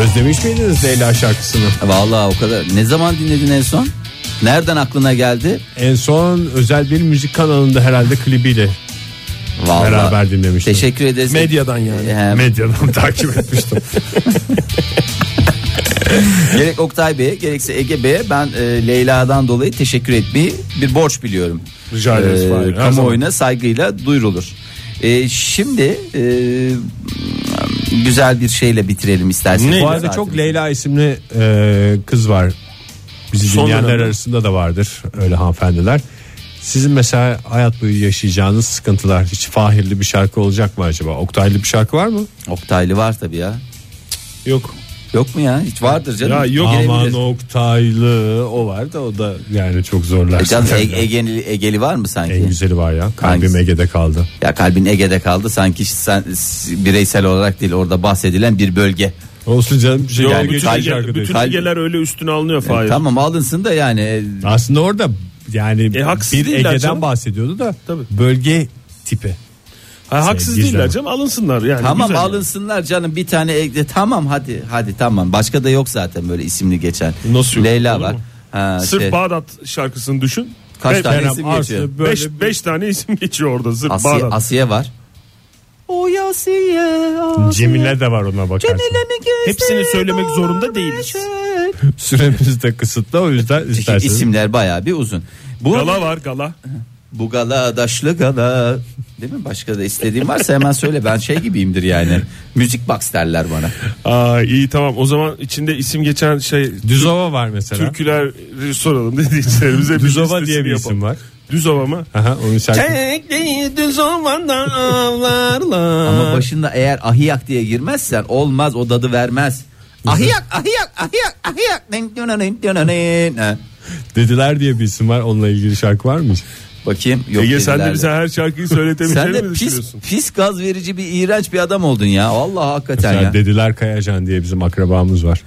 Özlemiş miydiniz Leyla şarkısını? Vallahi o kadar. Ne zaman dinledin en son? Nereden aklına geldi? En son özel bir müzik kanalında herhalde klibiyle Vallahi. beraber dinlemiştim. Teşekkür ederiz. Medyadan yani. Ee, Medyadan takip etmiştim. gerek Oktay Bey'e gerekse Ege Bey'e ben e, Leyla'dan dolayı teşekkür etmeyi bir borç biliyorum. Rica ederiz Ee, Fahir, her kamuoyuna saygıyla duyurulur. Ee, şimdi e, güzel bir şeyle bitirelim isterseniz. Bu arada çok Leyla isimli e, kız var. Bizi Son dinleyenler dönemde. arasında da vardır öyle hanımefendiler. Sizin mesela hayat boyu yaşayacağınız sıkıntılar hiç fahirli bir şarkı olacak mı acaba? Oktaylı bir şarkı var mı? Oktaylı var tabii ya. Yok. Yok mu ya? Hiç vardır canım. Ya yok. Girebilir. Aman Oktaylı o var da o da yani çok zorlar. E Canım, Yani. E- Ege'li, Ege'li var mı sanki? en güzeli var ya. Kalbim Hangisi? Ege'de kaldı. Ya kalbin Ege'de kaldı sanki sen bireysel olarak değil orada bahsedilen bir bölge. Olsun canım bir şey Yok, Yani bütün, kalp- Ege- bütün kalp- Ege'ler öyle üstüne alınıyor Fahir. Tamam alınsın da yani E, Aslında orada yani E, haksız bir değiller Ege'den canım. bahsediyordu da Tabii. bölge tipi. Ha, haksız Sevgili değiller canım. canım alınsınlar yani. tamam Güzel. alınsınlar canım bir tane Ege tamam hadi hadi tamam başka da yok zaten böyle isimli geçen. Nasıl yok? Leyla Olur var. mu? Ha, Sırf şey, Bağdat şarkısını düşün. kaç Be- tane Kerem isim Arslan, geçiyor? böyle beş, beş tane isim geçiyor orada sırf Asiye, Bağdat. Asiye var. O Asiye. Cemile de var ona bakarsın. Hepsini söylemek zorunda değiliz. Süremiz de kısıtlı o yüzden Çünkü isterseniz. isimler bayağı bir uzun. Bu Gala var gala. Bu gala daşlı gala. Değil mi? Başka da istediğin varsa hemen söyle. Ben şey gibiyimdir yani. Müzik box derler bana. Aa, iyi tamam o zaman içinde isim geçen şey Düzova var mesela. türküleri soralım dinleyicilerimize. bir Düzova listesini diye bir yapalım. isim var. Düzova mı? Aha, onun şarkı. Tekli Düzova'dan avlarla. Ama başında eğer ahiyak diye girmezsen olmaz o dadı vermez. Ahiyak ahiyak ahiyak ahiyak. Nen, nen, nen, nen, nen. Ha, Dediler diye bir isim var. Onunla ilgili şarkı var mı? Bakayım. Yok Ege sen de dediler bize her şarkıyı söyletemeyeceğini Sen de mi pis, düşünüyorsun? pis gaz verici bir iğrenç bir adam oldun ya. Vallahi hakikaten Mesela ya. Dediler Kayacan diye bizim akrabamız var.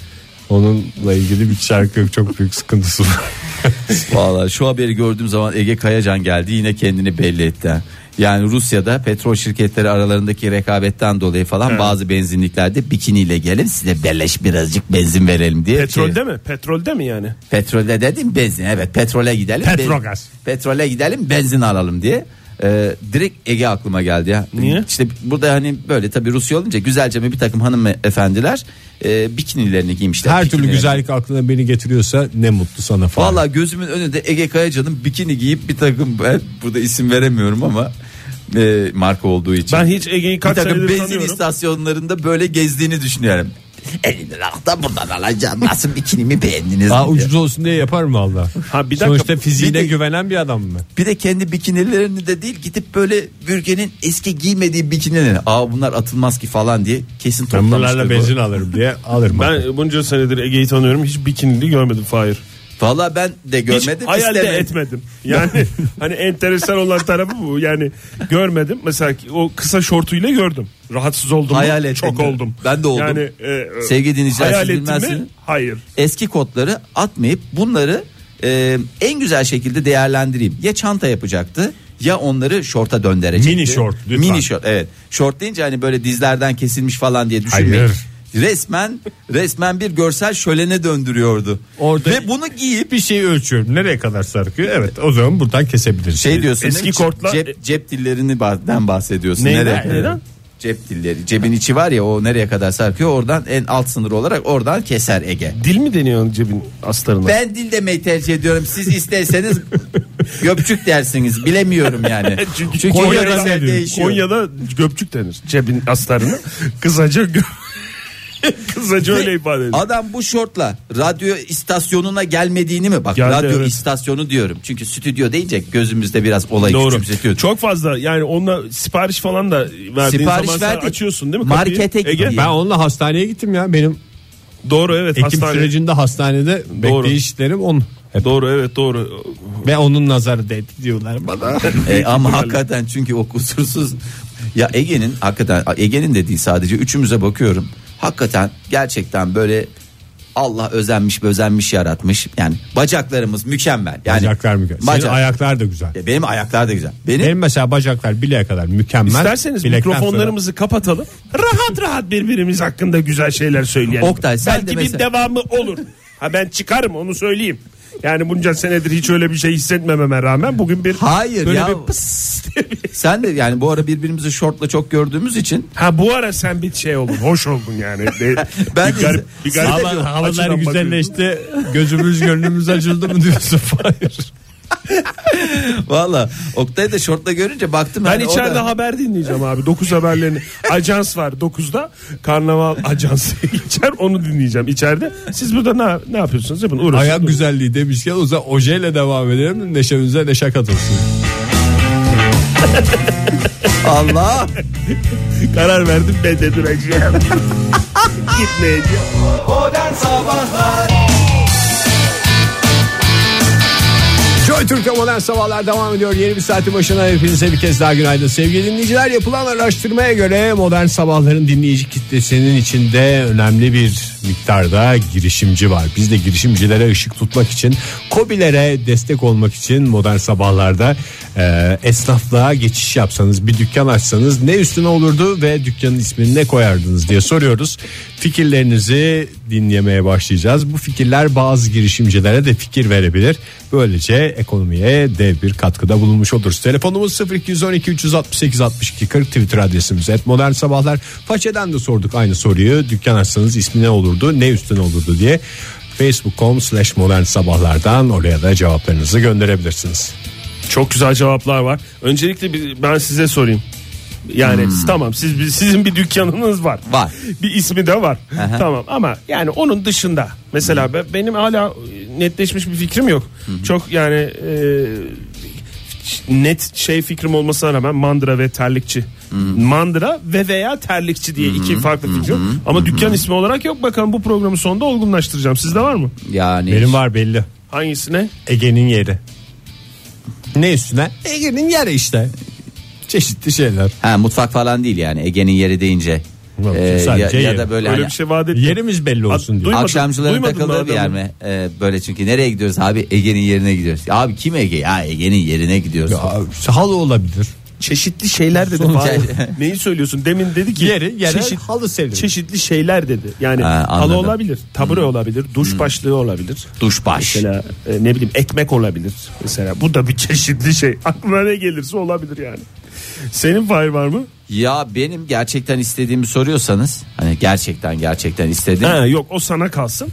Onunla ilgili bir şarkı yok. Çok büyük sıkıntısı var. Vallahi şu haberi gördüğüm zaman Ege Kayacan geldi yine kendini belli etti. ha. Yani Rusya'da petrol şirketleri aralarındaki rekabetten dolayı falan bazı benzinliklerde bikiniyle gelin size beleş birazcık benzin verelim diye. Petrolde şey- mi? Petrolde mi yani? Petrolde dedim benzin evet petrole gidelim. Petrogas. Benzin- petrole gidelim benzin alalım diye. Ee, direkt Ege aklıma geldi ya. Niye? İşte burada hani böyle tabii Rusya olunca güzelce bir takım hanımefendiler e, bikinilerini giymişler. Her türlü bikinilerini. güzellik aklına beni getiriyorsa ne mutlu sana falan. Valla gözümün önünde Ege Kayacan'ın bikini giyip bir takım ben burada isim veremiyorum ama e, marka olduğu için. Ben hiç Ege'yi bir kaç takım senedir benzin tanıyorum. istasyonlarında böyle gezdiğini düşünüyorum. Elini da buradan alacağım. Nasıl bikinimi beğendiniz? Aa, diye. ucuz olsun diye yaparım valla. Ha, bir dakika. Sonuçta fiziğine Bir de- güvenen bir adam mı? Bir de kendi bikinilerini de değil gidip böyle bürgenin eski giymediği bikinilerini. Aa bunlar atılmaz ki falan diye kesin Ben toplamıştır. bunlarla bu. benzin alırım diye alırım. Ben bunca senedir Ege'yi tanıyorum. Hiç bikinili görmedim Fahir. Valla ben de görmedim. Hiç hayal de istemedim. etmedim. Yani hani enteresan olan tarafı bu. Yani görmedim. Mesela ki o kısa şortuyla gördüm. Rahatsız oldum. mu? Hayal ettim. Çok oldum. Ben de oldum. Yani, e, e, Sevgili dinleyiciler, hayal siz ettim mi? bilmezsiniz. Hayır. eski kodları atmayıp bunları e, en güzel şekilde değerlendireyim. Ya çanta yapacaktı ya onları şorta döndürecekti. Mini şort, lütfen. Mini şort evet. Şort deyince hani böyle dizlerden kesilmiş falan diye düşünmeyin. Hayır. Resmen resmen bir görsel şölene döndürüyordu. Orada- şey, Ve bunu giyip bir şeyi ölçüyorum. Nereye kadar sarkıyor? Evet o zaman buradan kesebiliriz. şey diyorsun Eski değil mi? kortlar- cep, cep dillerinden bahsediyorsun. Neyden? Nereye- Neyden? Cep dilleri. Cebin içi var ya o nereye kadar sarkıyor oradan en alt sınır olarak oradan keser Ege. Dil mi deniyor cebin astarına? Ben dil demeyi tercih ediyorum. Siz isterseniz göpçük dersiniz. Bilemiyorum yani. E, Çünkü, yöresel Konya'da, değişiyor. Konya'da göpçük denir. Cebin astarını kısaca gö- kısaca öyle ifade edilir. Adam bu şortla radyo istasyonuna gelmediğini mi? Bak Geldi, radyo evet. istasyonu diyorum. Çünkü stüdyo deyince gözümüzde biraz olayı küçümsetiyor. Çok fazla yani onunla sipariş falan da verdiğin Sipariş zaman sen verdik. açıyorsun değil mi? kapıyı? Markete Ege? gidiyor. E, Ben onunla hastaneye gittim ya. Benim Doğru evet. ekim hastane. sürecinde hastanede Doğru. bekleyişlerim onun. Hep. Doğru evet doğru. Ve onun nazarı değdi diyorlar bana. E, ama hakikaten çünkü o kusursuz ya Ege'nin hakikaten Ege'nin de değil sadece üçümüze bakıyorum. Hakikaten gerçekten böyle Allah özenmiş özenmiş yaratmış. Yani bacaklarımız mükemmel. Yani Bacaklar mükemmel. Senin Bacak- ayaklar da güzel. E, Benim ayaklar da güzel. Benim, Benim mesela bacaklar bileğe kadar mükemmel. İsterseniz Bilekten mikrofonlarımızı kapatalım. Rahat rahat birbirimiz hakkında güzel şeyler söyleyelim. Oktay, sen Belki de bir mesela- devamı olur. Ha ben çıkarım onu söyleyeyim. Yani bunca senedir hiç öyle bir şey hissetmememe rağmen bugün bir Hayır böyle ya. bir pıs diye bir- Sen de yani bu ara birbirimizi şortla çok gördüğümüz için Ha bu ara sen bir şey oldun. Hoş oldun yani. De- Ben bir garip, bir garip sonra- Hava- açıdan Havalar bakıyordum. güzelleşti. Gözümüz gönlümüz açıldı mı diyorsun? Hayır. valla Oktay'ı da şortla görünce baktım. Ben hani o içeride da- haber dinleyeceğim abi. 9 haberlerini. Ajans var 9'da. Karnaval ajansı içer onu dinleyeceğim içeride. Siz burada ne, ne yapıyorsunuz? Yapın uğraşın. Ayak Durun. güzelliği demişken o zaman ojeyle devam edelim. Neşemize neşe katılsın. Allah. Karar verdim ben de duracağım. Gitmeyeceğim. Joy Türk'te modern sabahlar devam ediyor. Yeni bir saati başına hepinize bir kez daha günaydın. Sevgili dinleyiciler yapılan araştırmaya göre modern sabahların dinleyici kitlesinin içinde önemli bir miktarda girişimci var. Biz de girişimcilere ışık tutmak için, kobilere destek olmak için modern sabahlarda e, esnaflığa geçiş yapsanız, bir dükkan açsanız ne üstüne olurdu ve dükkanın ismini ne koyardınız diye soruyoruz. Fikirlerinizi dinlemeye başlayacağız. Bu fikirler bazı girişimcilere de fikir verebilir. Böylece ekonomiye dev bir katkıda bulunmuş oluruz. Telefonumuz 0212 368 62 40 Twitter adresimiz et modern sabahlar. Façeden de sorduk aynı soruyu. Dükkan açsanız ismi ne olurdu ne üstüne olurdu diye. Facebook.com slash modern sabahlardan oraya da cevaplarınızı gönderebilirsiniz. Çok güzel cevaplar var. Öncelikle bir, ben size sorayım. Yani tamam siz bir- sizin bir dükkanınız var. Var. Bir ismi de var. Aha. Tamam ama yani onun dışında mesela be- benim hala netleşmiş bir fikrim yok. Çok yani e, net şey fikrim olmasına rağmen mandıra ve terlikçi. Mandıra ve veya terlikçi diye iki farklı fikrim. Ama dükkan ismi olarak yok. Bakalım bu programı sonunda olgunlaştıracağım. Sizde var mı? Yani Benim var belli. Hangisine? Ege'nin yeri. Ne üstüne? Ege'nin yeri işte. Çeşitli şeyler. Ha mutfak falan değil yani Ege'nin yeri deyince. Yok, Ee, ya, sadece ya yeri. da böyle Öyle hani bir şey vaat ettim. Yerimiz belli olsun Ad- diyor. duymadım, akşamcıların duymadım takıldığı bir daha yer adamı. mi? Ee, böyle çünkü nereye gidiyoruz abi Ege'nin yerine gidiyoruz. Ya Abi kim Ege? Ya Ege'nin yerine gidiyoruz. Ya, halı olabilir. çeşitli şeyler dedi. Sonuç- Vay, Neyi söylüyorsun? Demin dedi ki Yeri, yerel halı serilir. çeşitli şeyler dedi. Yani Ha, halı anladım. olabilir, tabure olabilir, duş başlığı olabilir. Duşbaş. Mesela e, ne bileyim ekmek olabilir mesela. Bu da bir çeşitli şey. Aklına ne gelirse olabilir yani. Senin fay var mı? Ya benim gerçekten istediğimi soruyorsanız hani gerçekten gerçekten istediğim. Ha, yok o sana kalsın.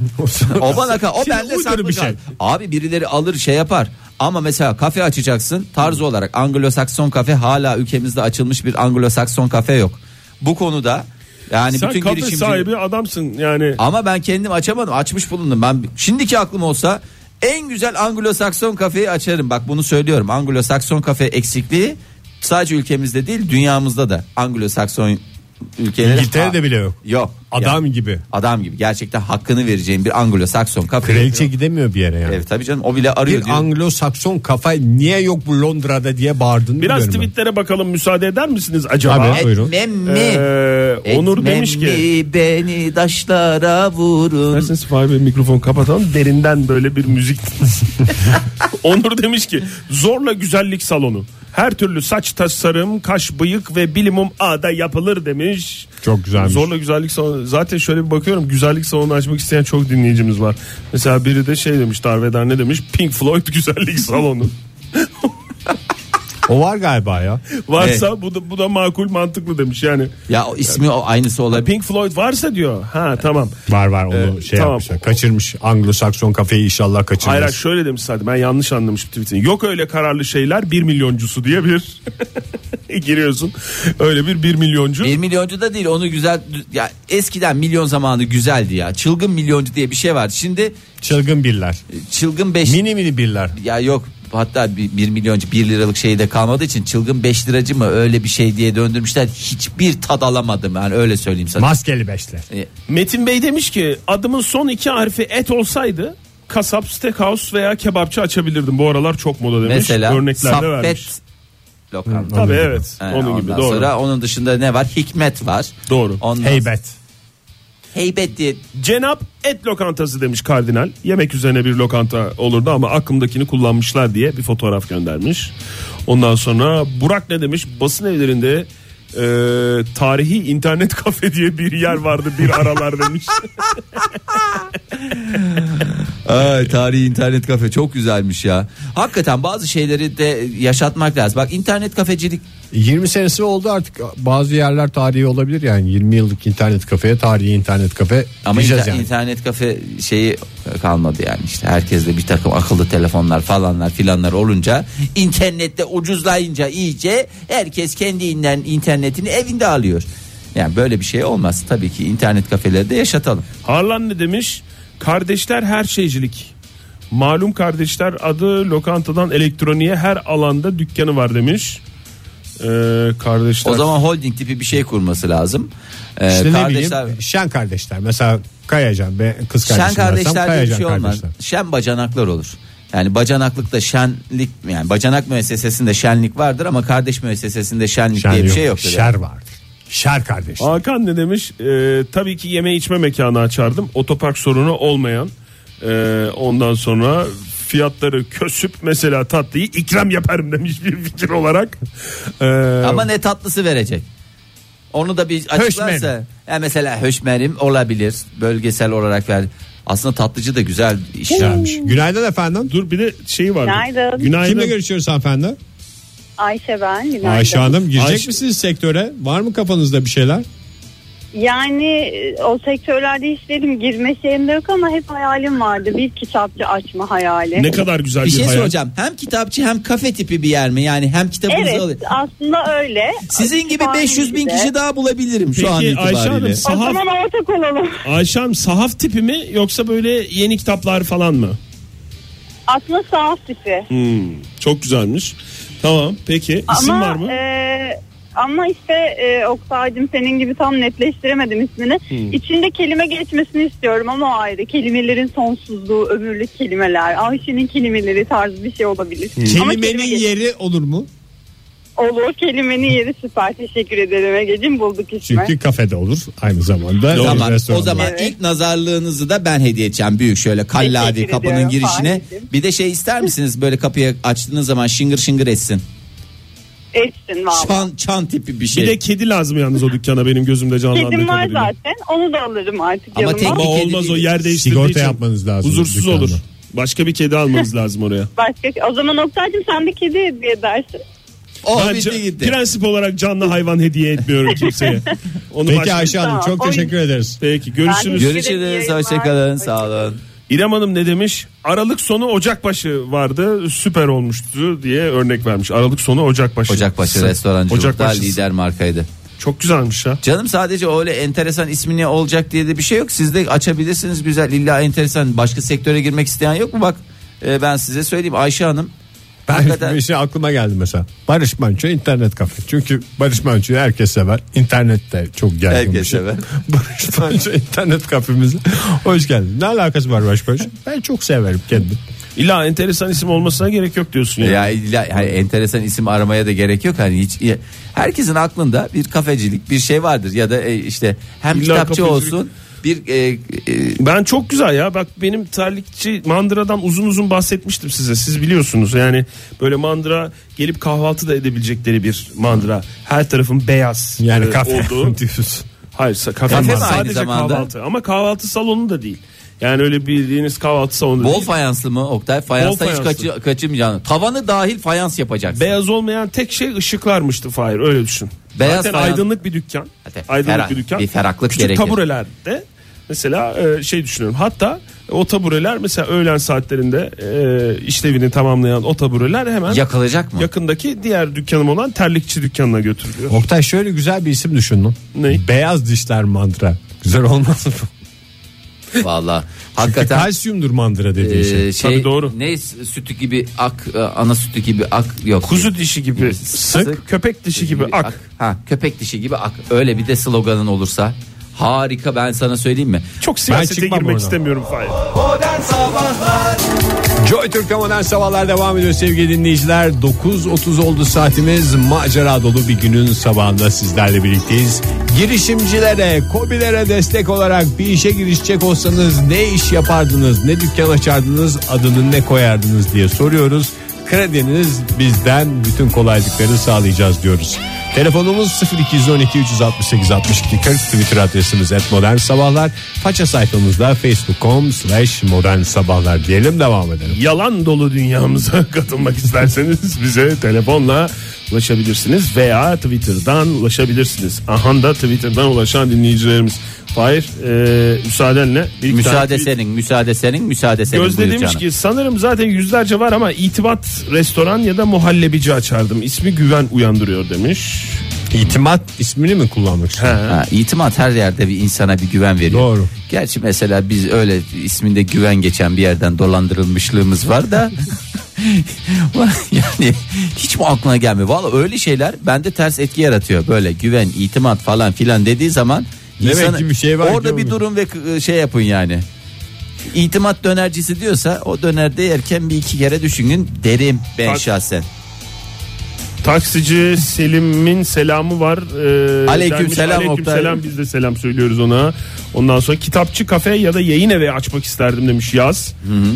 O bana kal- o Şimdi bende uydur saklı bir kal. şey. Abi birileri alır şey yapar. Ama mesela kafe açacaksın tarzı olarak Anglo-Sakson kafe hala ülkemizde açılmış bir Anglo-Sakson kafe yok. Bu konuda yani Sen bütün kafe girişimci sahibi adamsın yani. ama ben kendim açamadım açmış bulundum ben şimdiki aklım olsa en güzel Anglo-Sakson kafeyi açarım bak bunu söylüyorum Anglo-Sakson kafe eksikliği sadece ülkemizde değil dünyamızda da Anglo-Sakson ülkeleri İngiltere'de bile yok. yok Adam Yani gibi. adam gibi gerçekten hakkını vereceğim bir Anglo-Sakson kafe Kraliçe gidemiyor bir yere yani. Evet tabii canım o bile Bir arıyor diyor. Anglo-Sakson kafa niye yok bu Londra'da diye bağırdın. Biraz bilmiyorum tweetlere bakalım müsaade eder misiniz acaba? Tabii. Etmem Buyurun. mi? Ee, Onur Etmem demiş ki mi beni daşlara vurun. İsterseniz Fahir Bey mikrofon kapatalım derinden böyle bir müzik. Onur demiş ki zorla güzellik salonu. Her türlü saç tasarım, kaş bıyık ve bilimum A'da yapılır demiş. Çok güzelmiş. Zorla güzellik salonu. Zaten şöyle bir bakıyorum güzellik salonu açmak isteyen çok dinleyicimiz var. Mesela biri de şey demiş darveder ne demiş Pink Floyd güzellik salonu. ben. O var galiba ya. Varsa bu da bu da makul mantıklı demiş yani. Ya o ismi o aynısı olabilir. Pink Floyd varsa diyor. Ha tamam. Var var onu Ee, şey tamam. yapmışlar. Kaçırmış Anglo-Sakson kafeyi inşallah kaçırmış. Hayır hayır, şöyle demiş zaten ben yanlış anlamışım tweetini. Yok öyle kararlı şeyler bir milyoncusu diye bir giriyorsun. Öyle bir bir milyoncu. Bir milyoncu da değil onu güzel ya eskiden milyon zamanı güzeldi ya. Çılgın milyoncu diye bir şey vardı. Şimdi e, Çılgın birler. çılgın 5 Mini mini birler. ya yok hatta bir, bir milyoncu bir liralık şey de kalmadığı için çılgın 5 liracı mı öyle bir şey diye döndürmüşler. Hiçbir tad alamadım yani öyle söyleyeyim sana. Maskeli beşler. E, Metin Bey demiş ki adımın son iki harfi et olsaydı kasap, steakhouse veya kebapçı açabilirdim. Bu aralar çok moda demiş. mesela Örnekler de vermiş. Saffet lokal. Tabii evet. Ee, onun gibi ondan doğru. Sonra onun dışında ne var? Hikmet var. Doğru. Ondan Heybet. heybet diye Cenap et lokantası demiş kardinal. Yemek üzerine bir lokanta olurdu ama aklımdakini kullanmışlar diye bir fotoğraf göndermiş. Ondan sonra Burak ne demiş? Basın evlerinde e, tarihi internet kafe diye bir yer vardı bir aralar demiş. Ay, tarihi internet kafe çok güzelmiş ya. Hakikaten bazı şeyleri de yaşatmak lazım. Bak internet kafecilik 20 senesi oldu artık bazı yerler tarihi olabilir yani 20 yıllık internet kafeye tarihi internet kafe ama diyeceğiz inter- yani. internet kafe şeyi kalmadı yani işte herkeste bir takım akıllı telefonlar falanlar filanlar olunca internette ucuzlayınca iyice herkes kendinden internetini evinde alıyor. Yani böyle bir şey olmaz tabii ki internet kafelerde yaşatalım. Harlan ne demiş? Kardeşler her şeycilik. Malum kardeşler adı lokantadan elektroniğe her alanda dükkanı var demiş. E, kardeşler. O zaman holding tipi bir şey kurması lazım. Ee, İşte ne bileyim şen kardeşler mesela Kayacan ve kız Şen kardeşim dersem kardeşler diye bir Kayacan şey olmaz. kardeşler. Şen bacanaklar olur. Yani bacanaklıkta şenlik yani bacanak müessesesinde şenlik vardır ama kardeş müessesesinde şenlik Şen diye bir yok, şey yoktur. yani. Şer vardır. Şer kardeşler. Hakan ne demiş? Ee, tabii ki yeme içme mekanı açardım. Otopark sorunu olmayan. Ee, ondan sonra fiyatları kösüp mesela tatlıyı ikram yaparım demiş bir fikir olarak. Ee, Ama ne tatlısı verecek? Onu da bir açıklarsa. Höşmerim. Ya mesela höşmerim olabilir. Bölgesel olarak ver. Aslında tatlıcı da güzel işler. Güzelmiş. Günaydın efendim. Dur bir de şeyi var. Günaydın. Kimle görüşüyoruz hanımefendi? Ayşe ben. Günaydın. Ayşe Hanım girecek Ayşe- misiniz sektöre? Var mı kafanızda bir şeyler? Yani e, o sektörlerde işlerim girme şeyim de yok ama hep hayalim vardı. Bir kitapçı açma hayali. Ne kadar güzel bir, Bir şey hayal. soracağım. Hem kitapçı hem kafe tipi bir yer mi? Yani hem kitabınızı evet alıyor. aslında öyle. Sizin gibi 500 bin kişi daha bulabilirim şu Peki an Ayşe itibariyle. Hanım O sahaf, zaman ortak olalım. Ayşe Hanım sahaf tipi mi yoksa böyle yeni kitaplar falan mı? Aslında sahaf tipi. Hmm, çok güzelmiş. Tamam peki isim Ama var mı? e, ama işte e, Oktay'cım senin gibi tam netleştiremedim ismini. İçinde kelime geçmesini istiyorum ama o ayrı. Kelimelerin sonsuzluğu, ömürlük kelimeler, Ayşe'nin kelimeleri tarzı bir şey olabilir. Ama Kelimenin kelime geç- yeri olur mu? Olur kelimenin yeri süper. Teşekkür ederim Ege'cim bulduk ismi. Çünkü kafede olur aynı zamanda. Tamam. O restoranda. zaman Evet. ilk nazarlığınızı da ben hediye edeceğim. Büyük şöyle kallavi Teşekkür kapının ediyorum, girişine. Fahir'cim. Bir de şey ister misiniz böyle kapıyı açtığınız zaman şıngır şıngır etsin. Etsin valla. Çan, çan tipi bir şey. Bir de kedi lazım yalnız o dükkana benim gözümde canlandı. Kedim var kadarıyla. zaten. Onu da alırım artık Ama yanıma. tek- Ama Bir kedi olmaz değil. o yer değiştirdiği Sigorta için yapmanız lazım Huzursuz dükkanda. olur. Başka bir kedi almanız lazım oraya. Başka, o zaman Oktay'cım sen de kedi hediye edersin. o ben bitti ca- gitti. prensip olarak canlı hayvan hediye etmiyorum kimseye. Onu Peki başka- Ayşe Hanım Tamam, çok oyun- teşekkür ederiz. Peki görüşürüz. Ben de- Görüşürüz. Yayınlar. Hoşçakalın. Sağ olun. İrem Hanım ne demiş? Aralık sonu Ocakbaşı vardı. Süper olmuştu diye örnek vermiş. Aralık sonu Ocakbaşı. Ocakbaşı Sen- restorancılıkta Ocakbaşı. lider markaydı. Çok güzelmiş ya. Canım sadece öyle enteresan ismi ne olacak diye de bir şey yok. Siz de açabilirsiniz güzel. İlla enteresan başka sektöre girmek isteyen yok mu? Bak e, ben size söyleyeyim Ayşe Hanım. Ben hakikaten- bir şey aklıma geldi mesela. Barış Manço internet kafe. Çünkü Barış Manço'yu herkes sever. İnternette çok yaygın Herkes bir şey. sever. Barış Manço internet kafemize hoş geldin. Ne alakası var Barış Manço? Ben çok severim kendim. İlla enteresan isim olmasına gerek yok diyorsun ya. Ya illa- hani enteresan isim aramaya da gerek yok hani hiç ya- herkesin aklında bir kafecilik bir şey vardır ya da e, işte hem İlla kitapçı kafecilik. olsun bir e, e, Ben çok güzel ya. Bak benim terlikçi mandıradan uzun uzun bahsetmiştim size. Siz biliyorsunuz yani böyle mandıra gelip kahvaltı da edebilecekleri bir mandıra. Her tarafın beyaz Yani Ee, e, kafe olduğu. diyorsun. Hayır sa- kafe, Kafe mi mandıra. aynı sadece zamanda? kahvaltı. Ama kahvaltı salonu da değil. Yani öyle bildiğiniz kahvaltı salonu da bol değil. fayanslı mı Oktay fayansla hiç fayanslı. kaçı, kaçınmayacaksın. tavanı dahil fayans yapacaksın Beyaz olmayan tek şey ışıklarmıştı Fahir öyle düşün. Beyaz Zaten fayans- aydınlık bir dükkan. Zaten aydınlık ferah- bir dükkan. bir ferahlık Küçük gerekir. taburelerde mesela e, şey düşünüyorum. Hatta o tabureler mesela öğlen saatlerinde e, işlevini tamamlayan o tabureler hemen yakılacak mı yakındaki diğer dükkanım olan terlikçi dükkanına götürülüyor. Oktay şöyle güzel bir isim düşündüm. Ne? Beyaz dişler mandıra. Güzel olmaz mı? Vallahi Çünkü hakikaten kalsiyumdur mandıra dediği e, şey. şey, şey Tabii doğru. ne sütü gibi ak e, ana sütü gibi ak yok Kuzu dişi gibi sık, Sık. köpek dişi gibi ak. ha köpek dişi gibi ak öyle bir de sloganın olursa harika ben sana söyleyeyim mi Çok siyasete çıkmam girmek oradan. istemiyorum Fahir. Joy Türk'te modern sabahlar devam ediyor sevgili dinleyiciler. 9.30 oldu saatimiz. Macera dolu bir günün sabahında sizlerle birlikteyiz. Girişimcilere, kobilere destek olarak bir işe girişecek olsanız ne iş yapardınız, ne dükkan açardınız, adını ne koyardınız diye soruyoruz. Krediniz bizden bütün kolaylıkları sağlayacağız diyoruz. Telefonumuz 0212 368 62 40 Twitter adresimiz et modern sabahlar. Faça sayfamızda facebook.com slash modern sabahlar diyelim devam edelim. yalan dolu dünyamıza katılmak isterseniz bize telefonla ulaşabilirsiniz veya Twitter'dan ulaşabilirsiniz. Ahan da Twitter'dan ulaşan dinleyicilerimiz. Hayır, müsaadenle. bir iki tane Müsaade tweet- senin, müsaade senin, müsaade senin. Gözde buyur demiş canım. ki sanırım zaten yüzlerce var ama itibat restoran ya da muhallebici açardım. İsmi güven uyandırıyor demiş. İtimat ismini mi kullanmak istiyorsun? He. Ha, itimat her yerde bir insana bir güven veriyor. Doğru. Gerçi mesela biz öyle isminde güven geçen bir yerden dolandırılmışlığımız var da. yani hiç mi aklına gelmiyor? Valla öyle şeyler bende ters etki yaratıyor. Böyle güven, itimat falan filan dediği zaman. Demek ki bir şey var ki Orada bir olmuyor. durun ve k- şey yapın yani. İtimat dönercisi diyorsa o dönerde yerken bir iki kere düşünün derim ben Bak- şahsen. Taksici Selim'in selamı var. Ee, Aleyküm denmiş. selam Aleyküm Oktay. selam biz de selam söylüyoruz ona. Ondan sonra kitapçı kafe ya da yayın evi açmak isterdim demiş Yaz.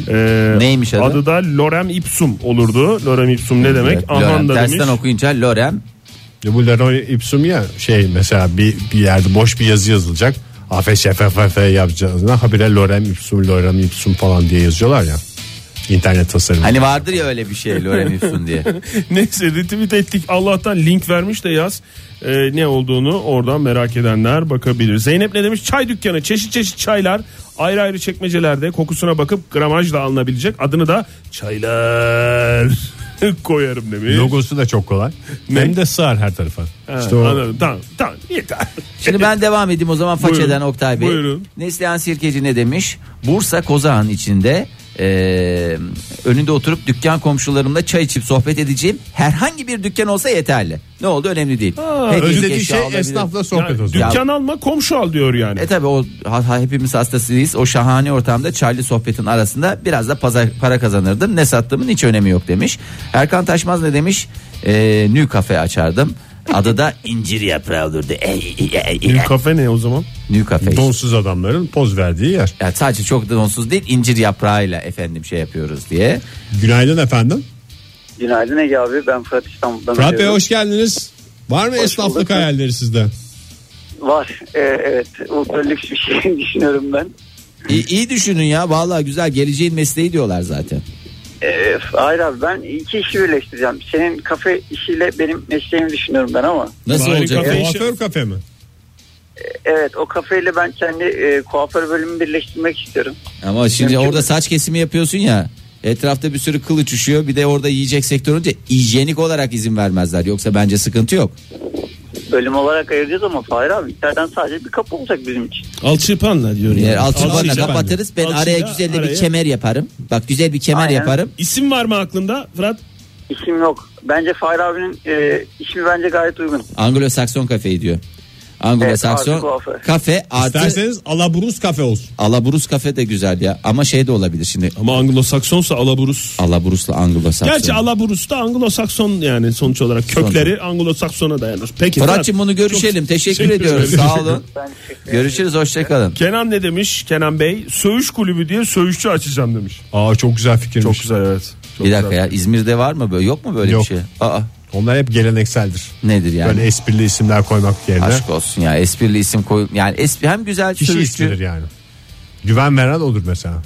Ee, Neymiş adı? Adı da Lorem Ipsum olurdu. Lorem Ipsum ne demek? Evet, Aman Lorem. da Dersten demiş. okuyunca Lorem Ya Bu Leroy Ipsum ya şey mesela bir, bir yerde boş bir yazı yazılacak. AFŞFFF yapacağına habire Lorem Ipsum, Lorem Ipsum falan diye yazıyorlar ya. İnternet tasarımı. Hani vardır ya öyle bir şey Lorem Ipsum diye. Neyse retweet ettik. Allah'tan link vermiş de Yaz. Ee, ne olduğunu oradan merak edenler bakabilir. Zeynep ne demiş? Çay dükkanı çeşit çeşit çaylar ayrı ayrı çekmecelerde kokusuna bakıp gramajla alınabilecek. Adını da çaylar koyarım demiş. Hani Logosu da çok kolay. Ne? Hem de sığar her tarafa. Ha, işte o anladım. Tamam, tamam. Yeter. Şimdi ben devam edeyim o zaman façeden Buyurun. Oktay Bey. Buyurun. Neslihan Sirkeci ne demiş? Bursa Kozağan içinde e, önünde oturup dükkan komşularımla çay içip sohbet edeceğim. Herhangi bir dükkan olsa yeterli. Ne oldu önemli değil. Pek ilk özlediği eşya şey olabilir. esnafla sohbet Yani o zaman. dükkan alma komşu al diyor yani. E tabi o ha- ha- hepimiz hastasıyız. O şahane ortamda çaylı sohbetin arasında biraz da pazar, para kazanırdım. Ne sattığımın hiç önemi yok demiş. Erkan Taşmaz ne demiş? E, nü kafe açardım. Adı da incir yaprağı olurdu. E, e, e, e. Bir kafe ne o zaman? Nü kafe. işte. Donsuz adamların poz verdiği yer. Ya sadece çok da donsuz değil incir yaprağıyla efendim şey yapıyoruz diye. Günaydın efendim. Günaydın Ege abi ben Fırat İstanbul'dan Fırat Bey arıyorum. hoş geldiniz. Var mı Hoş esnaflık bulduk. hayalleri sizde? Var e, evet ultra lüks bir şey düşünüyorum ben. İyi, iyi düşünün ya vallahi güzel geleceğin mesleği diyorlar zaten. E, hayır abi ben iki işi birleştireceğim. Senin kafe işiyle benim mesleğimi düşünüyorum ben ama. Nasıl Bari olacak? kafe- o? Kuaför kafe mi? Evet o kafeyle ben kendi e, kuaför bölümümü birleştirmek istiyorum. Ama şimdi Mümkün orada mü? saç kesimi yapıyorsun ya. Etrafta bir sürü kılıç uçuyor. Bir de orada yiyecek sektör olunca hijyenik olarak izin vermezler. Yoksa bence sıkıntı yok. Bölüm olarak ayıracağız ama Fahir abi içeriden sadece bir kapı olacak bizim için. Alçıpanla diyor Yani Alçıbanla Alçıya E, kapatırız. Ben şey bende. araya Alçıya, güzel de araya. bir kemer yaparım. Bak güzel bir kemer Aynen. yaparım. İsim var mı aklında Fırat? İsim yok. Bence Fahir abinin e, ismi bence gayet uygun. Anglo-Sakson kafeyi diyor. artı Anglo-Sakson kuaför. kafe artı İsterseniz Alaburuz kafe olsun. Alaburus kafe de güzel ya. Ama şey de olabilir şimdi. Ama Anglo-Saksonsa Alaburus. Alaburus'la Anglo-Sakson. Gerçi Alaburus da Anglo-Sakson yani sonuç olarak kökleri Anglo-Sakson'a dayanır. Peki Fırat'cığım Fırat, bunu görüşelim. çok Teşekkür, teşekkür ediyoruz. ederim. Sağ olun. Ben teşekkür ederim. Görüşürüz. Hoşçakalın. Kenan ne demiş Kenan Bey? Söğüş kulübü diye söğüşçü açacağım demiş. Aa çok güzel fikirmiş. Çok güzel evet. Çok Bir dakika güzel. ya. İzmir'de var mı böyle? Yok mu böyle Yok. bir şey? Aa Onlar hep gelenekseldir. nedir yani? Böyle esprili isimler koymak yerine Aşk olsun ya. Esprili isim koy. Yani espri hem güzel kişi sürüşçü. ismidir yani. Güven veren odur mesela.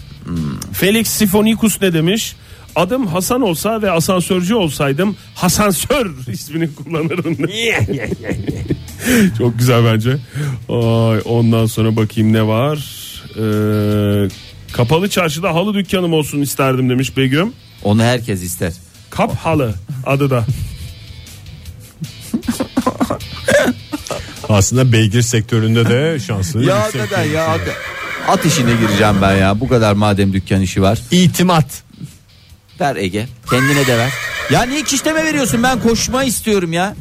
Felix Sifonikus ne demiş? Adım Hasan olsa ve asansörcü olsaydım Hasansör ismini kullanırdım. Çok güzel bence. Ay, ondan sonra bakayım ne var. Ee, kapalı çarşıda halı dükkanım olsun isterdim demiş Begüm. Onu herkes ister. Kap halı adı da. Aslında beygir sektöründe de şansını Ya yüksek. neden ya? Hakikaten. At işine gireceğim ben ya. Bu kadar madem dükkan işi var. İtimat. Ver Ege. Kendine de ver. Ya niye kişleme veriyorsun? Ben koşma istiyorum ya.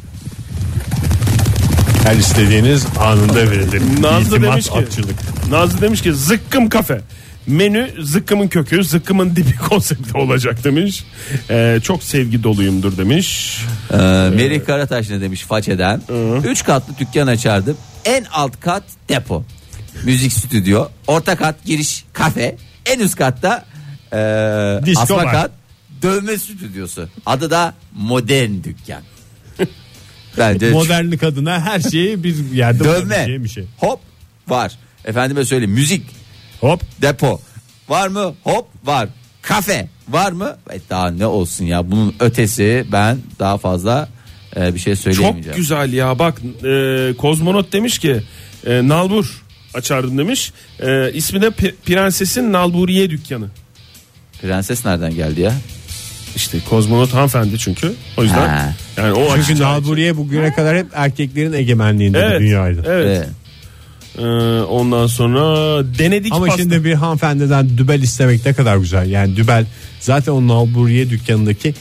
Her istediğiniz anında verilir. Nazlı İtimat demiş ki. atçılık. Nazlı demiş ki zıkkım kafe. Menü zıkkımın kökü zıkkımın dibi konsepti olacak demiş. Ee, çok sevgi doluyumdur demiş. Ee, Merih Karataş ne demiş façeden? Üç katlı dükkan açardım. En alt kat depo. Müzik stüdyo. Orta kat giriş kafe. En üst katta e, Disco asma bar. kat dövme stüdyosu. Adı da modern dükkan. Bence Modernlik adına her şeyi bir yerde dövme bulabileceğim bir şey. hop var. Efendime söyleyeyim müzik Hop depo var mı? Hop var. Kafe var mı? E daha ne olsun ya bunun ötesi ben daha fazla e, bir şey söyleyemeyeceğim. Çok güzel ya bak e, kozmonot demiş ki e, Nalbur açardım demiş. E, ismi de P- Prensesin Nalburiye Dükkanı. Prenses nereden geldi ya? İşte kozmonot hanımefendi çünkü. O yüzden Ha. yani o Çünkü açacağı- naburiye bugüne kadar hep erkeklerin egemenliğinde Evet. dünyaydı. Evet. Evet. E, ondan sonra denedik Ama pasta. şimdi bir hanımefendiden dübel istemek ne kadar güzel. Yani dübel zaten o nalburiye dükkanındaki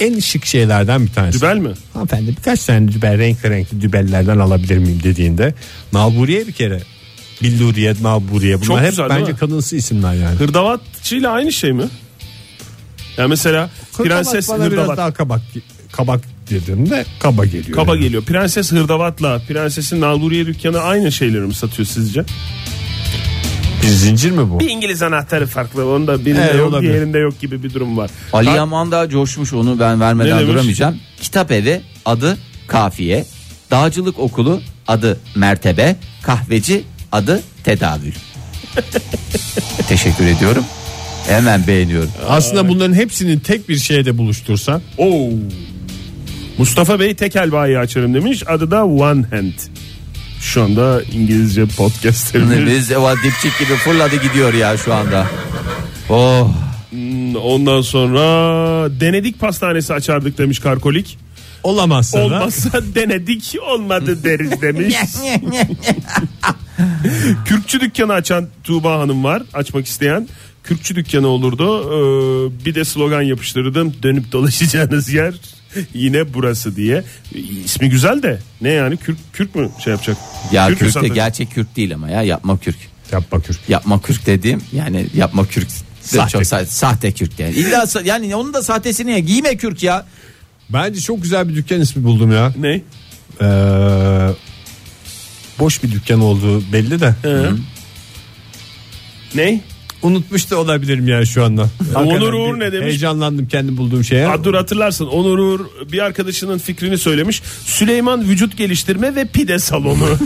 en şık şeylerden bir tanesi. Dübel mi? Hanımefendi birkaç tane dübel renkli renkli dübellerden alabilir miyim dediğinde nalburiye bir kere. Billuriye, nalburiye bunlar Çok hep güzel, değil bence mi? kadınsı isimler yani. Hırdavatçıyla aynı şey mi? Yani mesela Hırdavat Prenses bana biraz Hırdavat. daha kabak kabak dediğimde kaba geliyor. Kaba yani. geliyor. Prenses Hırdavat'la Prensesin Nalburiye Dükkanı aynı şeyleri mi satıyor sizce? Bir zincir mi bu? Bir İngiliz anahtarı farklı. Onun da birinde Evet, yok olabilir. diğerinde yok gibi bir durum var. Ali Daha- Yaman da coşmuş onu ben Ne vermeden demiş? duramayacağım. Kitap evi adı Kafiye. Dağcılık okulu adı Mertebe. Kahveci adı Tedavül. Teşekkür ediyorum. Hemen beğeniyorum. Aslında bunların hepsinin tek bir şeyde buluştursan Oo. Mustafa Bey tekel bayi açarım demiş. Adı da One Hand. Şu anda İngilizce podcastlerimiz. Biz o dipçik gibi fırladı gidiyor ya şu anda. Oh. Ondan sonra denedik pastanesi açardık demiş Karkolik. olamazsa da- Olmazsa denedik olmadı deriz demiş. Kürkçü dükkanı açan Tuğba Hanım var. Açmak isteyen. Kürkçü dükkanı olurdu. Ee, bir de slogan yapıştırdım. Dönüp dolaşacağınız yer yine burası diye. İsmi güzel de ne yani kürk, kürk mü şey yapacak? Ya Kürk mü kürk de satacak? gerçek kürk değil ama ya yapma kürk. Yapma kürk. Yapma kürk dediğim yani yapma kürk. de Sahte Çok sahte, sahte kürk yani. İlla sa- yani onun da sahtesini ya giyme kürk ya. Bence çok güzel bir dükkan ismi buldum ya. Ne? Ee, boş bir dükkan olduğu belli de. Hı. Ne? Unutmuş da olabilirim yani şu anda. Hakikaten Uğur bir ne demiş? Heyecanlandım kendi bulduğum şeye. Ha, dur hatırlarsın Onur Uğur bir arkadaşının fikrini söylemiş. Süleyman vücut geliştirme ve pide salonu.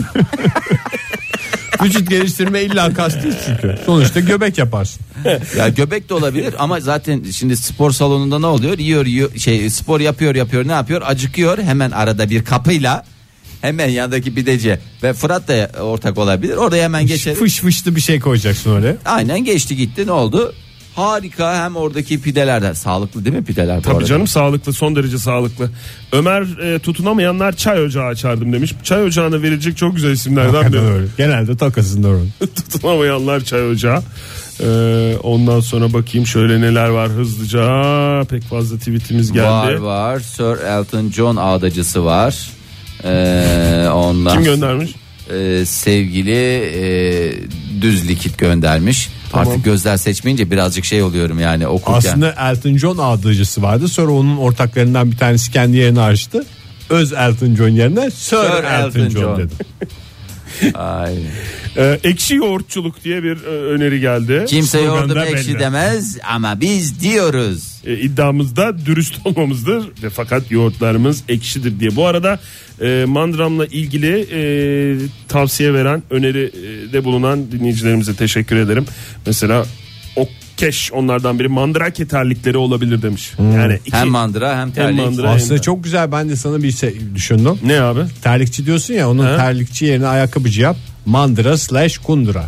Vücut geliştirme illa kastı çünkü. Sonuçta göbek yaparsın. Ya göbek de olabilir ama zaten şimdi spor salonunda ne oluyor? Yiyor, yiyor şey spor yapıyor yapıyor ne yapıyor? Acıkıyor hemen arada bir kapıyla hemen yandaki pideci ve Fırat da ortak olabilir. Orada hemen geçer. Fış fışlı bir şey koyacaksın oraya. Aynen geçti gitti ne oldu? Harika hem oradaki pidelerden sağlıklı değil mi pideler bu Tabii arada? canım sağlıklı son derece sağlıklı. Ömer e, tutunamayanlar çay ocağı açardım demiş. Çay ocağına verilecek çok güzel isimlerden Hakikaten biri. öyle. Genelde takasında öyle. tutunamayanlar çay ocağı. E, ondan sonra bakayım şöyle neler var hızlıca. Pek fazla tweetimiz Var geldi. var Sir Elton John ağdacısı var. Ee, ondan Kim göndermiş? Ee, sevgili e, düz likit göndermiş. Artık gözler seçmeyince birazcık şey oluyorum yani okurken. Aslında Elton John adlıcısı vardı. Sonra onun ortaklarından bir tanesi kendi yerini açtı. Öz Elton John yerine Sir, Sir Elton, Elton John, John. dedi. Ay. E, ekşi yoğurtçuluk diye bir e, öneri geldi. Kimse Slogan yordum da ekşi belli. demez ama biz diyoruz. E, iddiamız da dürüst olmamızdır ve fakat yoğurtlarımız ekşidir diye. Bu arada e, mandramla ilgili e, tavsiye veren öneride bulunan dinleyicilerimize teşekkür ederim. Mesela okkeş onlardan biri mandrake terlikleri olabilir demiş. Yani iki, Hem mandıra hem terlik. mandıra. Aslında Aynen. çok güzel ben de sana bir şey düşündüm. ne abi? Terlikçi diyorsun ya onun He. terlikçi yerine ayakkabıcı yap. Mandıra slash kundura.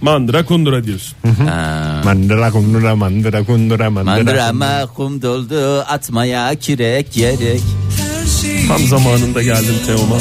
Mandıra kundura diyorsun. Mandıra kundura mandıra kundura mandıra. Mandıra kundura. mahkum doldu atmaya kirek yerek. Tam zamanında geldim Teoman.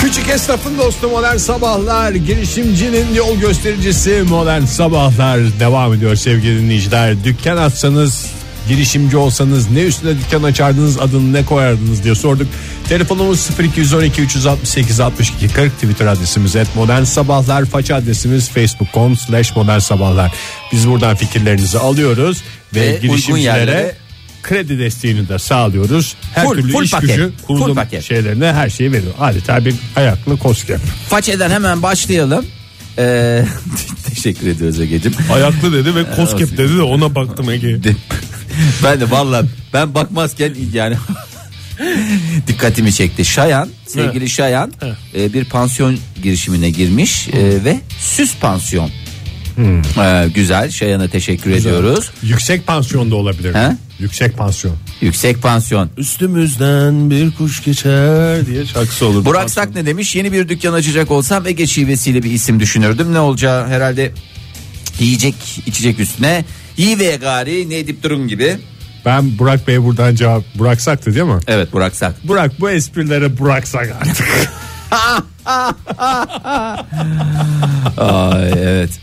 Küçük esnafın dostu modern sabahlar girişimcinin yol göstericisi modern sabahlar devam ediyor sevgili dinleyiciler. Dükkan açsanız girişimci olsanız ne üstüne dükkan açardınız adını ne koyardınız diye sorduk. Telefonumuz 0212 368 62 40 Twitter adresimiz et modern sabahlar faça adresimiz facebook.com slash modern sabahlar. Biz buradan fikirlerinizi alıyoruz ve, Ve uygun girişimcilere yerlere kredi desteğini de sağlıyoruz. Her Full- türlü full iş paket, gücü full kurulum paket. şeylerine her şeyi veriyor. Adeta bir ayaklı koskep. Façeden hemen başlayalım. Ee, teşekkür ediyoruz Ege'cim. Ayaklı dedi ve koskep dedi de ona baktım Ege. De- ben de valla ben bakmazken yani dikkatimi çekti. Şayan sevgili Şayan e, bir pansiyon girişimine girmiş e, ve süs pansiyon. E, güzel Şayan'a teşekkür ediyoruz. Yüksek pansiyonda olabilir. He? Yüksek pansiyon. Yüksek pansiyon. Üstümüzden bir kuş geçer diye şarkısı olurdu. Burak Sak ne demiş? Yeni bir dükkan açacak olsam Ege şivesiyle bir isim düşünürdüm. Ne olacağı herhalde yiyecek içecek üstüne. İyi ve gari ne edip durun gibi. Ben Burak Bey buradan cevap bıraksaktı değil mi? Evet Burak Sak. Burak bu esprilere bıraksak artık. Ay, evet.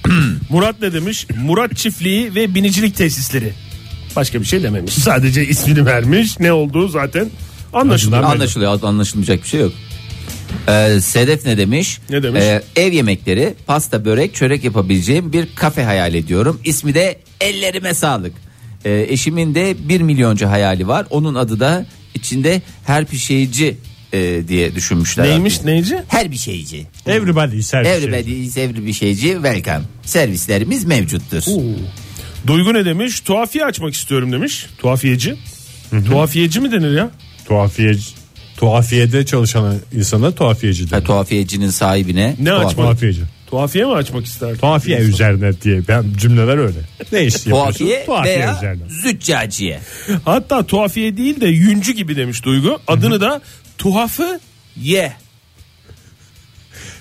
Murat ne demiş? Murat çiftliği ve binicilik tesisleri. Başka bir şey dememiş. Sadece ismini vermiş. Ne olduğu zaten anlaşılıyor. Anlaşılıyor anlaşılmayacak bir şey yok. Ee, Sedef ne demiş? Ne demiş? Ee, ev yemekleri, pasta, börek, çörek yapabileceğim bir kafe hayal ediyorum. İsmi de Ellerime Sağlık. Ee, eşimin de 1 milyoncu hayali var. Onun adı da içinde her pişeyici e, diye düşünmüşler. Neymiş neyci? Her bir şeyci. Everybody servis. Everybody is every bir şeyci welcome. Servislerimiz mevcuttur. Duygu ne demiş? Tuhafiye açmak istiyorum demiş. Tuhafiyeci. Tuhafiyeci mi denir ya? Tuhafiye, tuhafiyede çalışan insana tuhafiyeci Ha, denir. tuhafiyecinin sahibine. Ne tuhaf- açmak? Tuhafiyeci. Tuhafiye mi açmak ister? Tuhafiye üzerine diye ben cümleler öyle. Ne iş yapıyorsun? Tuhafiye, veya züccaciye. Hatta tuhafiye değil de yüncü gibi demiş Duygu. Adını da tuhafı Ye.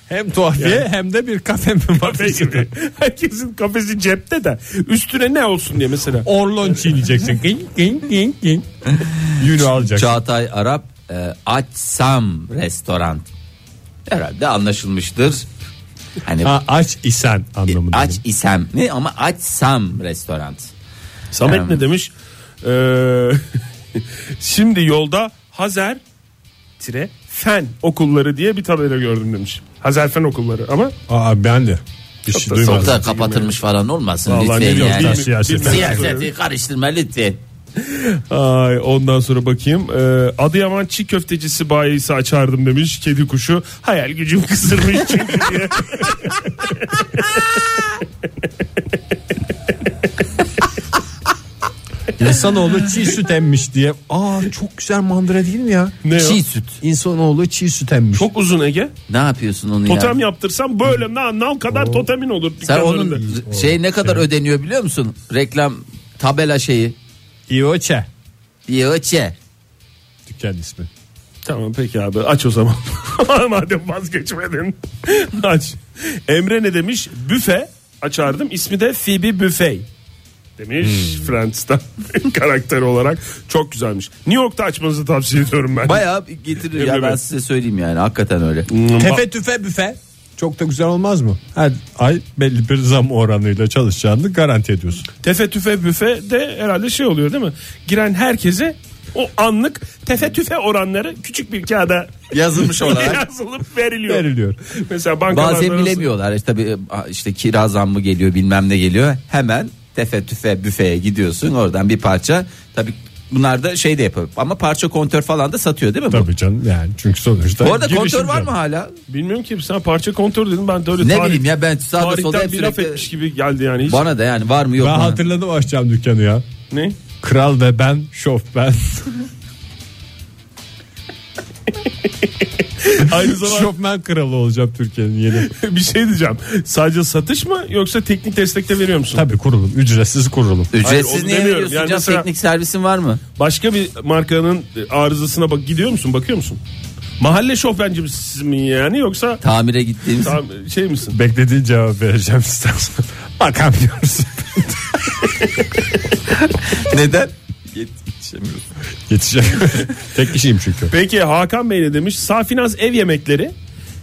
Hem tuhafiye hem de bir kafe kafe gibi. Herkesin kafesi cepte de üstüne ne olsun diye mesela. Orlon çiğneyeceksin. Ging, ging, ging, ging. Yünü alacaksın. Çağatay Arap e, açsam restoran. Herhalde anlaşılmıştır. Hani Ha, aç isen anlamında. E, aç isem mi ama açsam restoran. Samet Hmm. ne demiş? Ee, şimdi yolda Hazer tire fen okulları diye bir tabela gördüm demiş. Hazer fen okulları ama Aa ben de. Bir şey duymadım. Sokta kapatılmış falan olmasın Vallahi lütfen ne diyorsun yani. sen siyaset? Siyaseti karıştırma lütfen. Ay, ondan sonra bakayım. Ee, Adıyaman çiğ köftecisi bayisi açardım demiş. Kedi kuşu hayal gücüm kısırmış çünkü diye. İnsanoğlu çiğ süt emmiş diye. Aa çok güzel mandıra değil mi ya? Ne o? Çiğ süt. İnsanoğlu çiğ süt emmiş. Çok uzun Ege. Ne yapıyorsun onu ya? Totem yaptırsam böyle na- nam kadar totemin olur. Sen dükkanın önünde. onun şey ne kadar ödeniyor biliyor musun? Reklam tabela şeyi. İyoçe. Yoçe. Dükkan ismi. Tamam peki abi aç o zaman. Madem vazgeçmedin. aç. Emre ne demiş? Büfe açardım. İsmi de Phoebe Buffet. Demiş Hmm. Friends'ten karakter olarak. Çok güzelmiş. New York'ta açmanızı tavsiye ediyorum ben. Bayağı getirir ya Emre ben Bey. size söyleyeyim yani hakikaten öyle. Tefe tüfe büfe. Çok da güzel olmaz mı? Her ay belli bir zam oranıyla çalışacağını garanti ediyorsun. Tefe tüfe büfe de herhalde şey oluyor değil mi? Giren herkese o anlık tefe tüfe oranları küçük bir kağıda Yazılmış olarak. yazılıp veriliyor. Veriliyor. Mesela bankalarda Bazen arası- bilemiyorlar işte tabii e, işte kira zammı geliyor bilmem ne geliyor hemen tefe tüfe büfeye gidiyorsun oradan bir parça tabii bunlar da şey de yapıyor ama parça kontör falan da satıyor değil mi bu? Tabii canım yani çünkü sonuçta. Bu arada kontör girişim var mı canım. hala? Bilmiyorum ki sen parça kontör dedim ben de öyle Ne tarih- bileyim ya ben sağda solda tarihten hep bir laf sürekli- etmiş gibi geldi yani. Hiç Bana da yani var mı yok Ben mu? hatırladım açacağım dükkanı ya. Ne? Kral ve ben, şof ben. Aynı zamanda Şofmen kralı olacağım Türkiye'nin yeni. bir şey diyeceğim. Sadece satış mı yoksa teknik destek de veriyor musun? Tabii kurulum. Ücretsiz kurulum. Ücretsiz Hayır, onu niye demiyorum. veriyorsun Yani canım? mesela- teknik servisin var mı? Başka bir markanın e, arızasına bak gidiyor musun? Bakıyor musun? Mahalle şofbenci misin mi yani yoksa Tamire gittiğimiz tam şey misin? Beklediğin cevap vereceğim istersen. Bakamıyoruz. neden? Yetişemiyorum. Tek kişiyim çünkü. Peki Hakan Bey ne demiş? Safinaz ev yemekleri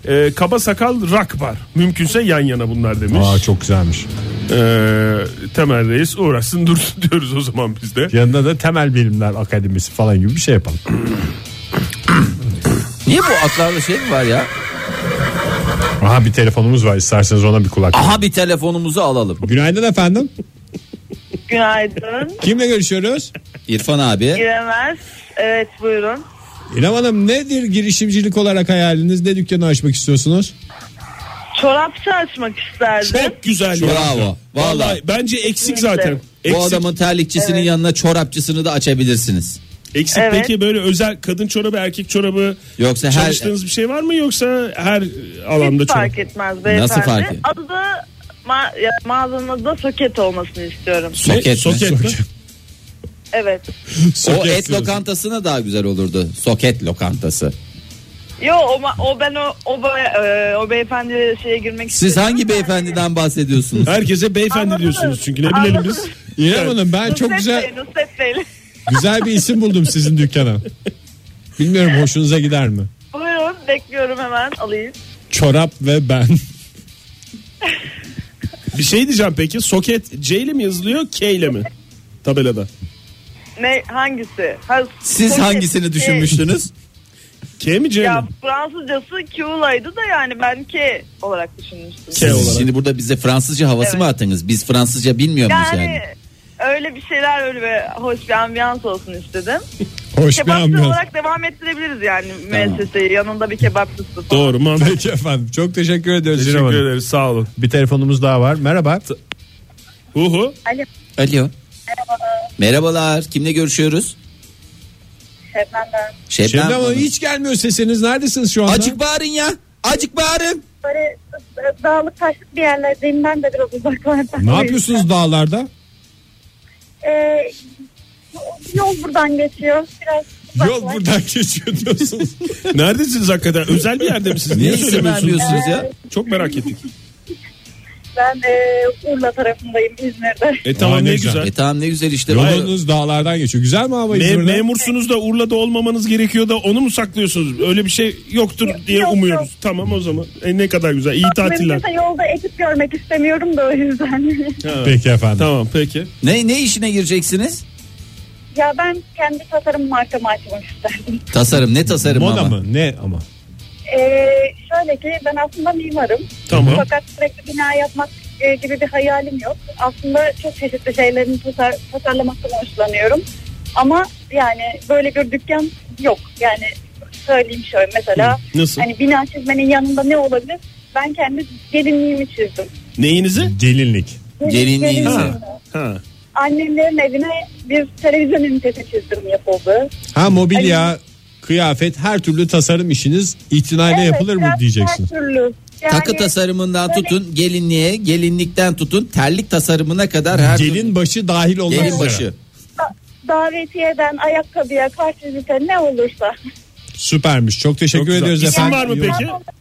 e, kaba sakal rak bar. Mümkünse yan yana bunlar demiş. Aa çok güzelmiş. E, temel Reis uğraşsın dursun diyoruz o zaman biz de. Yanında da temel bilimler akademisi falan gibi bir şey yapalım. Niye bu atlarda şey mi var ya? Aha bir telefonumuz var isterseniz ona bir kulak. verin. Aha bir telefonumuzu alalım. Günaydın efendim. Günaydın. Kimle görüşüyoruz? İrfan abi. İrem Er. Evet buyurun. İrem Hanım nedir girişimcilik olarak hayaliniz? Ne dükkanı açmak istiyorsunuz? Çorapçı açmak isterdim. Şey, Çok güzel. Bravo, ya. vallahi. Bence eksik Kesinlikle. zaten. Eksik. Bu adamın terlikçisinin yanına çorapçısını da açabilirsiniz. eksik. Evet. Peki böyle özel kadın çorabı, erkek çorabı Yoksa her- çalıştığınız bir şey var mı yoksa her alanda Hiç çorap? fark etmez beyefendi. Nasıl fark et- Adı da ma- ya, mağazanın adı da soket olmasını istiyorum. Ne? Soket mi? Soket mi? Evet. O et lokantasına daha güzel olurdu. Soket lokantası. Yo o, ma- o ben o o, be- e, o beyefendi şeye girmek Siz istiyorum hangi da. beyefendiden bahsediyorsunuz? Herkese beyefendi Anladınız. diyorsunuz çünkü ne bilelim biz. Anladınız. İrem Hanım ben Nusret çok güzel Bey, Nusret Bey. güzel bir isim buldum sizin dükkana. Bilmiyorum hoşunuza gider mi? Buyurun bekliyorum hemen alayım. Çorap ve ben. Bir şey diyeceğim peki soket C ile mi yazılıyor K ile mi? Tabelada. Ne hangisi? Ha, Siz soket, hangisini şey, düşünmüştünüz? K mi C mi? Ya Fransızcası Q'laydı da yani ben K olarak düşünmüştüm. K olarak. Şimdi burada bize Fransızca havası mı attınız? Biz Fransızca bilmiyor muyuz yani? Yani, öyle bir şeyler öyle bir hoş bir ambiyans olsun istedim. Hoş bir Kebapçı ambiyans. olarak devam ettirebiliriz yani müesseseyi. Yanında bir kebapçısı falan. Doğru mantıklı. Peki efendim çok teşekkür ediyoruz İrem Teşekkür Hanım. ederiz sağ olun. Bir telefonumuz daha var. Merhaba. Hu hu. Alo. Merhabalar. Kimle görüşüyoruz? Hemen ben Şimdi Şebnem ama Hanım. hiç gelmiyor sesiniz. Neredesiniz şu anda? Acık bağırın ya. Acık bağırın. böyle e, dağlık taşlık bir yerlerdeyim ben de biraz uzaklarda. Ne yapıyorsunuz dağlarda? Ee, yol buradan geçiyor. Biraz Yol uzaklaş. buradan geçiyor diyorsunuz. Neredesiniz hakikaten? Özel bir yerde misiniz? Niye Niye isim söylemiyorsunuz? vermiyorsunuz ya? Çok merak ettik. Ben e, Urla tarafındayım İzmir'de. E tamam Aa, ne ne güzel. güzel. E tamam ne güzel işte. Yolunuz dağlardan geçiyor. Güzel mi hava Me- İzmir'de? memursunuz da Urla'da olmamanız gerekiyor da onu mu saklıyorsunuz? Öyle bir şey yoktur diye yok, umuyoruz. yok. Tamam o zaman. E, ne kadar güzel. İyi tatiller. Mümkünse yolda ekip görmek istemiyorum da o yüzden. Peki efendim. Tamam peki. Ne ne işine gireceksiniz? ya ben kendi tasarım markamı açmak isterdim. Tasarım ne tasarım Moda ama? mı? Ne ama? Ee, şöyle ki ben aslında mimarım. Tamam. Fakat sürekli bina yapmak e, gibi bir hayalim yok. Aslında çok çeşitli şeylerin tasar, tasarlamaktan hoşlanıyorum. Ama yani böyle bir dükkan yok. Yani söyleyeyim şöyle mesela Nasıl? hani bina çizmenin yanında ne olabilir? Ben kendi gelinliğimi çizdim. Neyinizi? Gelinlik. Gelinliğinizi. Gelinliğimi. Ha. Annemlerin evine bir televizyon ünitesi çizdim yapıldı. Ha mobilya, kıyafet, her türlü tasarım işiniz itinayla Hani yapılır mı biraz diyeceksin. Her türlü. Yani Takı tasarımından böyle- tutun gelinliğe, gelinlikten tutun terlik tasarımına kadar her Gelin başı dahil olmak gelin üzere. başı. da- davetiyeden ayakkabıya, kartvizite ne olursa. Süpermiş. Çok teşekkür Çok güzel. ediyoruz İsim efendim. var mı İyi peki? olun. Ben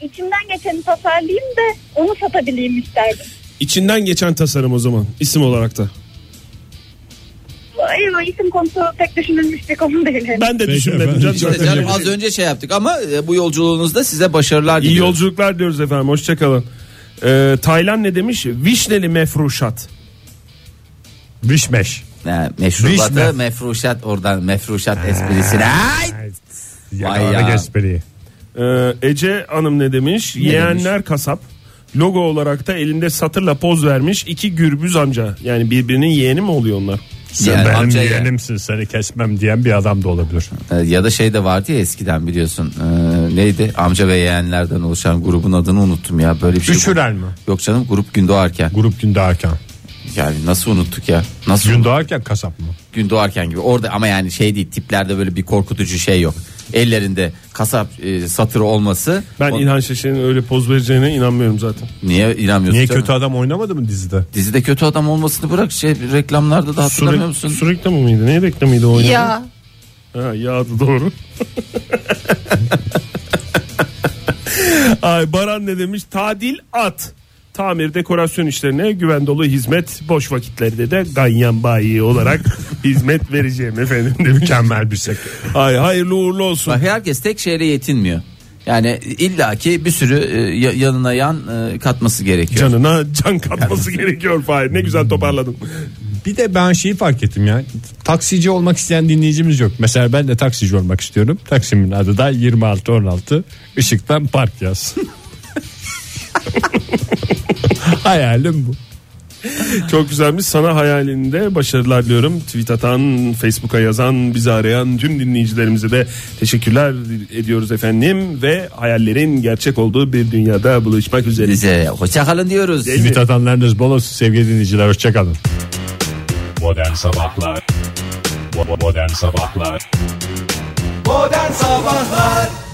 ben içimden geçeni tasarlayayım da onu satabileyim isterdim. İçinden geçen tasarım o zaman. isim olarak da. Ay, o isim konusu pek düşünülmüş bir konu değil. henüz. Ben de Peki düşünmedim efendim. canım. Hiç İşte Zaten- canım az önce şey yaptık ama e, bu yolculuğunuzda size başarılar İyi diliyorum. yolculuklar diyoruz efendim. Hoşçakalın. Ee, Taylan ne demiş? Vişneli mefruşat. Vişmeş. Ne, meşrubatı, Vişne. mefruşat oradan mefruşat esprisine. Ay! Vay Yakaladık ya. espriyi. Ee, Ece Hanım ne demiş? Yeğenler kasap. Logo olarak da elinde satırla poz vermiş iki gürbüz amca. Yani birbirinin yeğeni mi oluyor onlar? Yani amca ya. yeğenimsin seni kesmem diyen bir adam da olabilir. E, Ya da şey de vardı ya eskiden biliyorsun. E, neydi? Amca ve yeğenlerden oluşan grubun adını unuttum ya. Böyle bir şey. Üçüren mi? Yok canım grup Gündoğarken. Grup Gündoğarken. Yani nasıl unuttuk ya? Nasıl unuttuk? Gündoğarken kasap mı? gün doğarken gibi orada ama yani şey değil tiplerde böyle bir korkutucu şey yok. Ellerinde kasap e, satırı olması. Ben O- İlhan Şeşen'in öyle poz vereceğine inanmıyorum zaten. niye inanmıyorsun? Niye canım? kötü adam oynamadı mı dizide? Dizide kötü adam olmasını bırak şey reklamlarda da hatırlamıyor musun? Sürek, sürekli mi mıydı? Ne reklamıydı o? Ya. Ha, yağdı doğru. Ay Baran ne demiş? Tadil at. Tamir dekorasyon işlerine güven dolu hizmet. Boş vakitlerde de ganyan bayi olarak hizmet vereceğim efendim demiş. Mükemmel bir sektör. şey. Ay hayırlı uğurlu olsun. Bak herkes tek şeyle yetinmiyor. Yani illaki bir sürü e, ya- yanına yan e, katması gerekiyor. Canına can katması gerekiyor Fahir. Ne güzel toparladım. Bir de ben şeyi fark ettim ya. Taksici olmak isteyen dinleyicimiz yok. Mesela ben de taksici olmak istiyorum. Taksimin adı da 2616. Işıktan park yaz. Hayalim bu. Çok güzelmiş. Sana hayalinde başarılar diliyorum. Tweet atan, Facebook'a yazan, bizi arayan tüm dinleyicilerimize de teşekkürler ediyoruz efendim. Ve hayallerin gerçek olduğu bir dünyada buluşmak üzere. Bize hoşçakalın diyoruz. Tweet atanlarınız bol olsun sevgili dinleyiciler. Hoşçakalın. Modern Sabahlar Bo- bo- Modern Sabahlar Modern Sabahlar